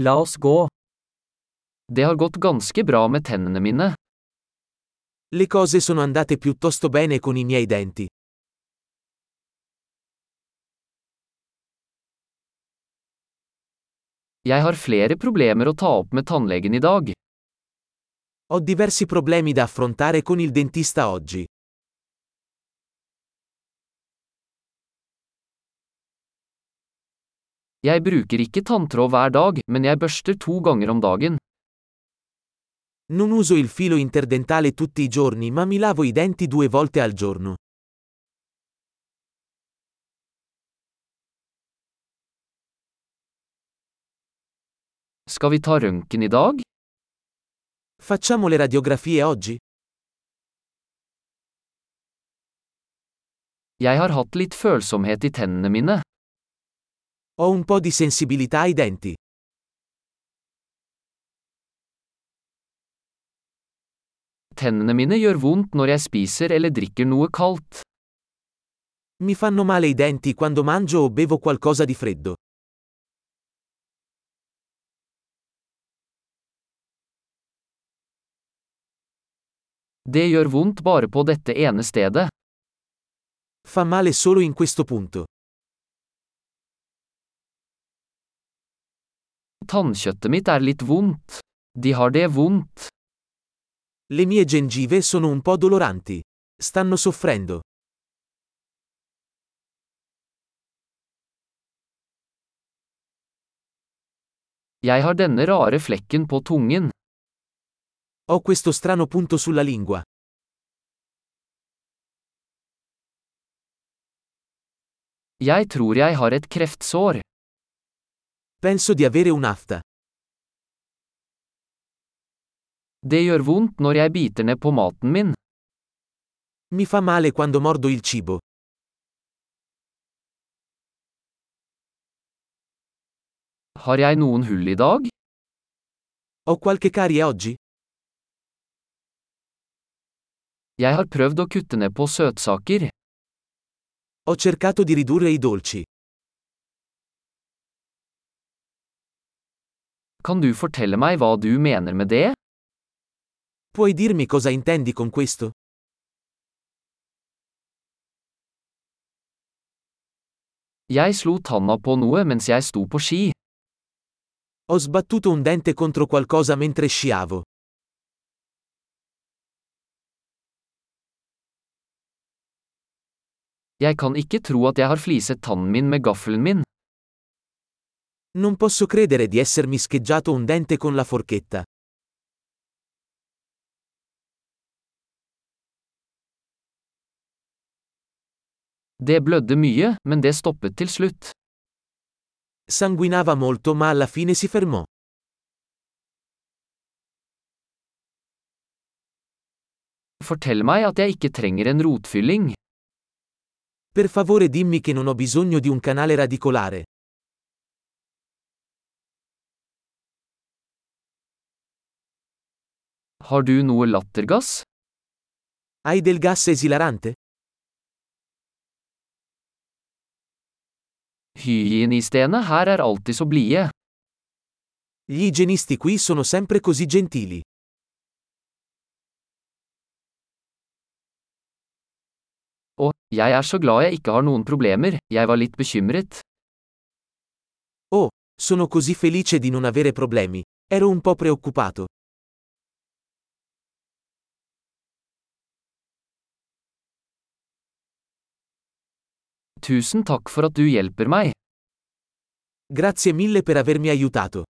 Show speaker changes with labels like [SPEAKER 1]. [SPEAKER 1] La oss gå. Det har gått ganske bra med tennene mine.
[SPEAKER 2] Le cose sono andate piuttosto bene con i miei denti.
[SPEAKER 1] Jeg har flere problemer å ta opp med tannlegen i dag.
[SPEAKER 2] Ho diversi problemi da affrontare con il dentista oggi.
[SPEAKER 1] Jeg bruker ikke tanntråd hver dag, men jeg børster to ganger om dagen.
[SPEAKER 2] Non uso il filo interdentale tutti i giorni ma mi lavo i denti due volte al giorno.
[SPEAKER 1] Skal vi ta røntgen i dag?
[SPEAKER 2] Facciamo le radiografie oggi?
[SPEAKER 1] Jeg har hatt litt følsomhet i tennene mine.
[SPEAKER 2] Ho un po' di sensibilità ai denti.
[SPEAKER 1] Tennene mine gjør vondt når jeg spiser eller drikker noe kaldt.
[SPEAKER 2] Mi fanno male i denti quando mangio o bevo qualcosa di freddo.
[SPEAKER 1] Det gjør vondt bare på dette ene stedet.
[SPEAKER 2] Fa male solo in questo punto.
[SPEAKER 1] Tannkjøttet mitt er litt vondt. De har det vondt.
[SPEAKER 2] Le mie gengive sono un po' doloranti. Stanno soffrendo.
[SPEAKER 1] Jeg har denne rare flekken på tungen.
[SPEAKER 2] Ho questo strano punto sulla lingua.
[SPEAKER 1] Jeg tror jeg har et kreftsår.
[SPEAKER 2] Penso di avere un'afta.
[SPEAKER 1] Det gjør vondt når jeg biter ned på maten min.
[SPEAKER 2] Mi fa male quando mordo il cibo.
[SPEAKER 1] Har jeg noen hull i dag?
[SPEAKER 2] Ho qualche carie oggi?
[SPEAKER 1] Jeg har prøvd å kutte ned på søtsaker.
[SPEAKER 2] Ho cercato di ridurre i dolci.
[SPEAKER 1] Kan du fortelle meg hva du mener med det?
[SPEAKER 2] Puoi dirmi cosa intendi con questo?
[SPEAKER 1] Jeg slo tanna på noe mens jeg sto på ski.
[SPEAKER 2] Ho sbattuto un dente contro qualcosa mentre sciavo.
[SPEAKER 1] Jeg kan ikke tro at jeg har fliset tannen min med gaffelen min.
[SPEAKER 2] Non posso credere di essermi scheggiato un dente con la forchetta.
[SPEAKER 1] Det blødde mye, men det stoppet til slutt.
[SPEAKER 2] Sanguinava molto ma alla fine si fermò.
[SPEAKER 1] Fortell meg at jeg ikke trenger en rotfylling.
[SPEAKER 2] Per favore dimmi che non ho bisogno di un canale radicolare.
[SPEAKER 1] Har du noe lattergass?
[SPEAKER 2] Hai del gas esilarante?
[SPEAKER 1] Hygienistene her er alltid så blide.
[SPEAKER 2] Gli igienisti qui sono sempre così gentili.
[SPEAKER 1] Og, jeg er så glad jeg ikke har noen problemer, jeg var litt bekymret.
[SPEAKER 2] Oh, sono così felice di non avere problemi. Ero un po' preoccupato.
[SPEAKER 1] Tusen takk for at du hjelper meg.
[SPEAKER 2] Grazie mille per avermi aiutato.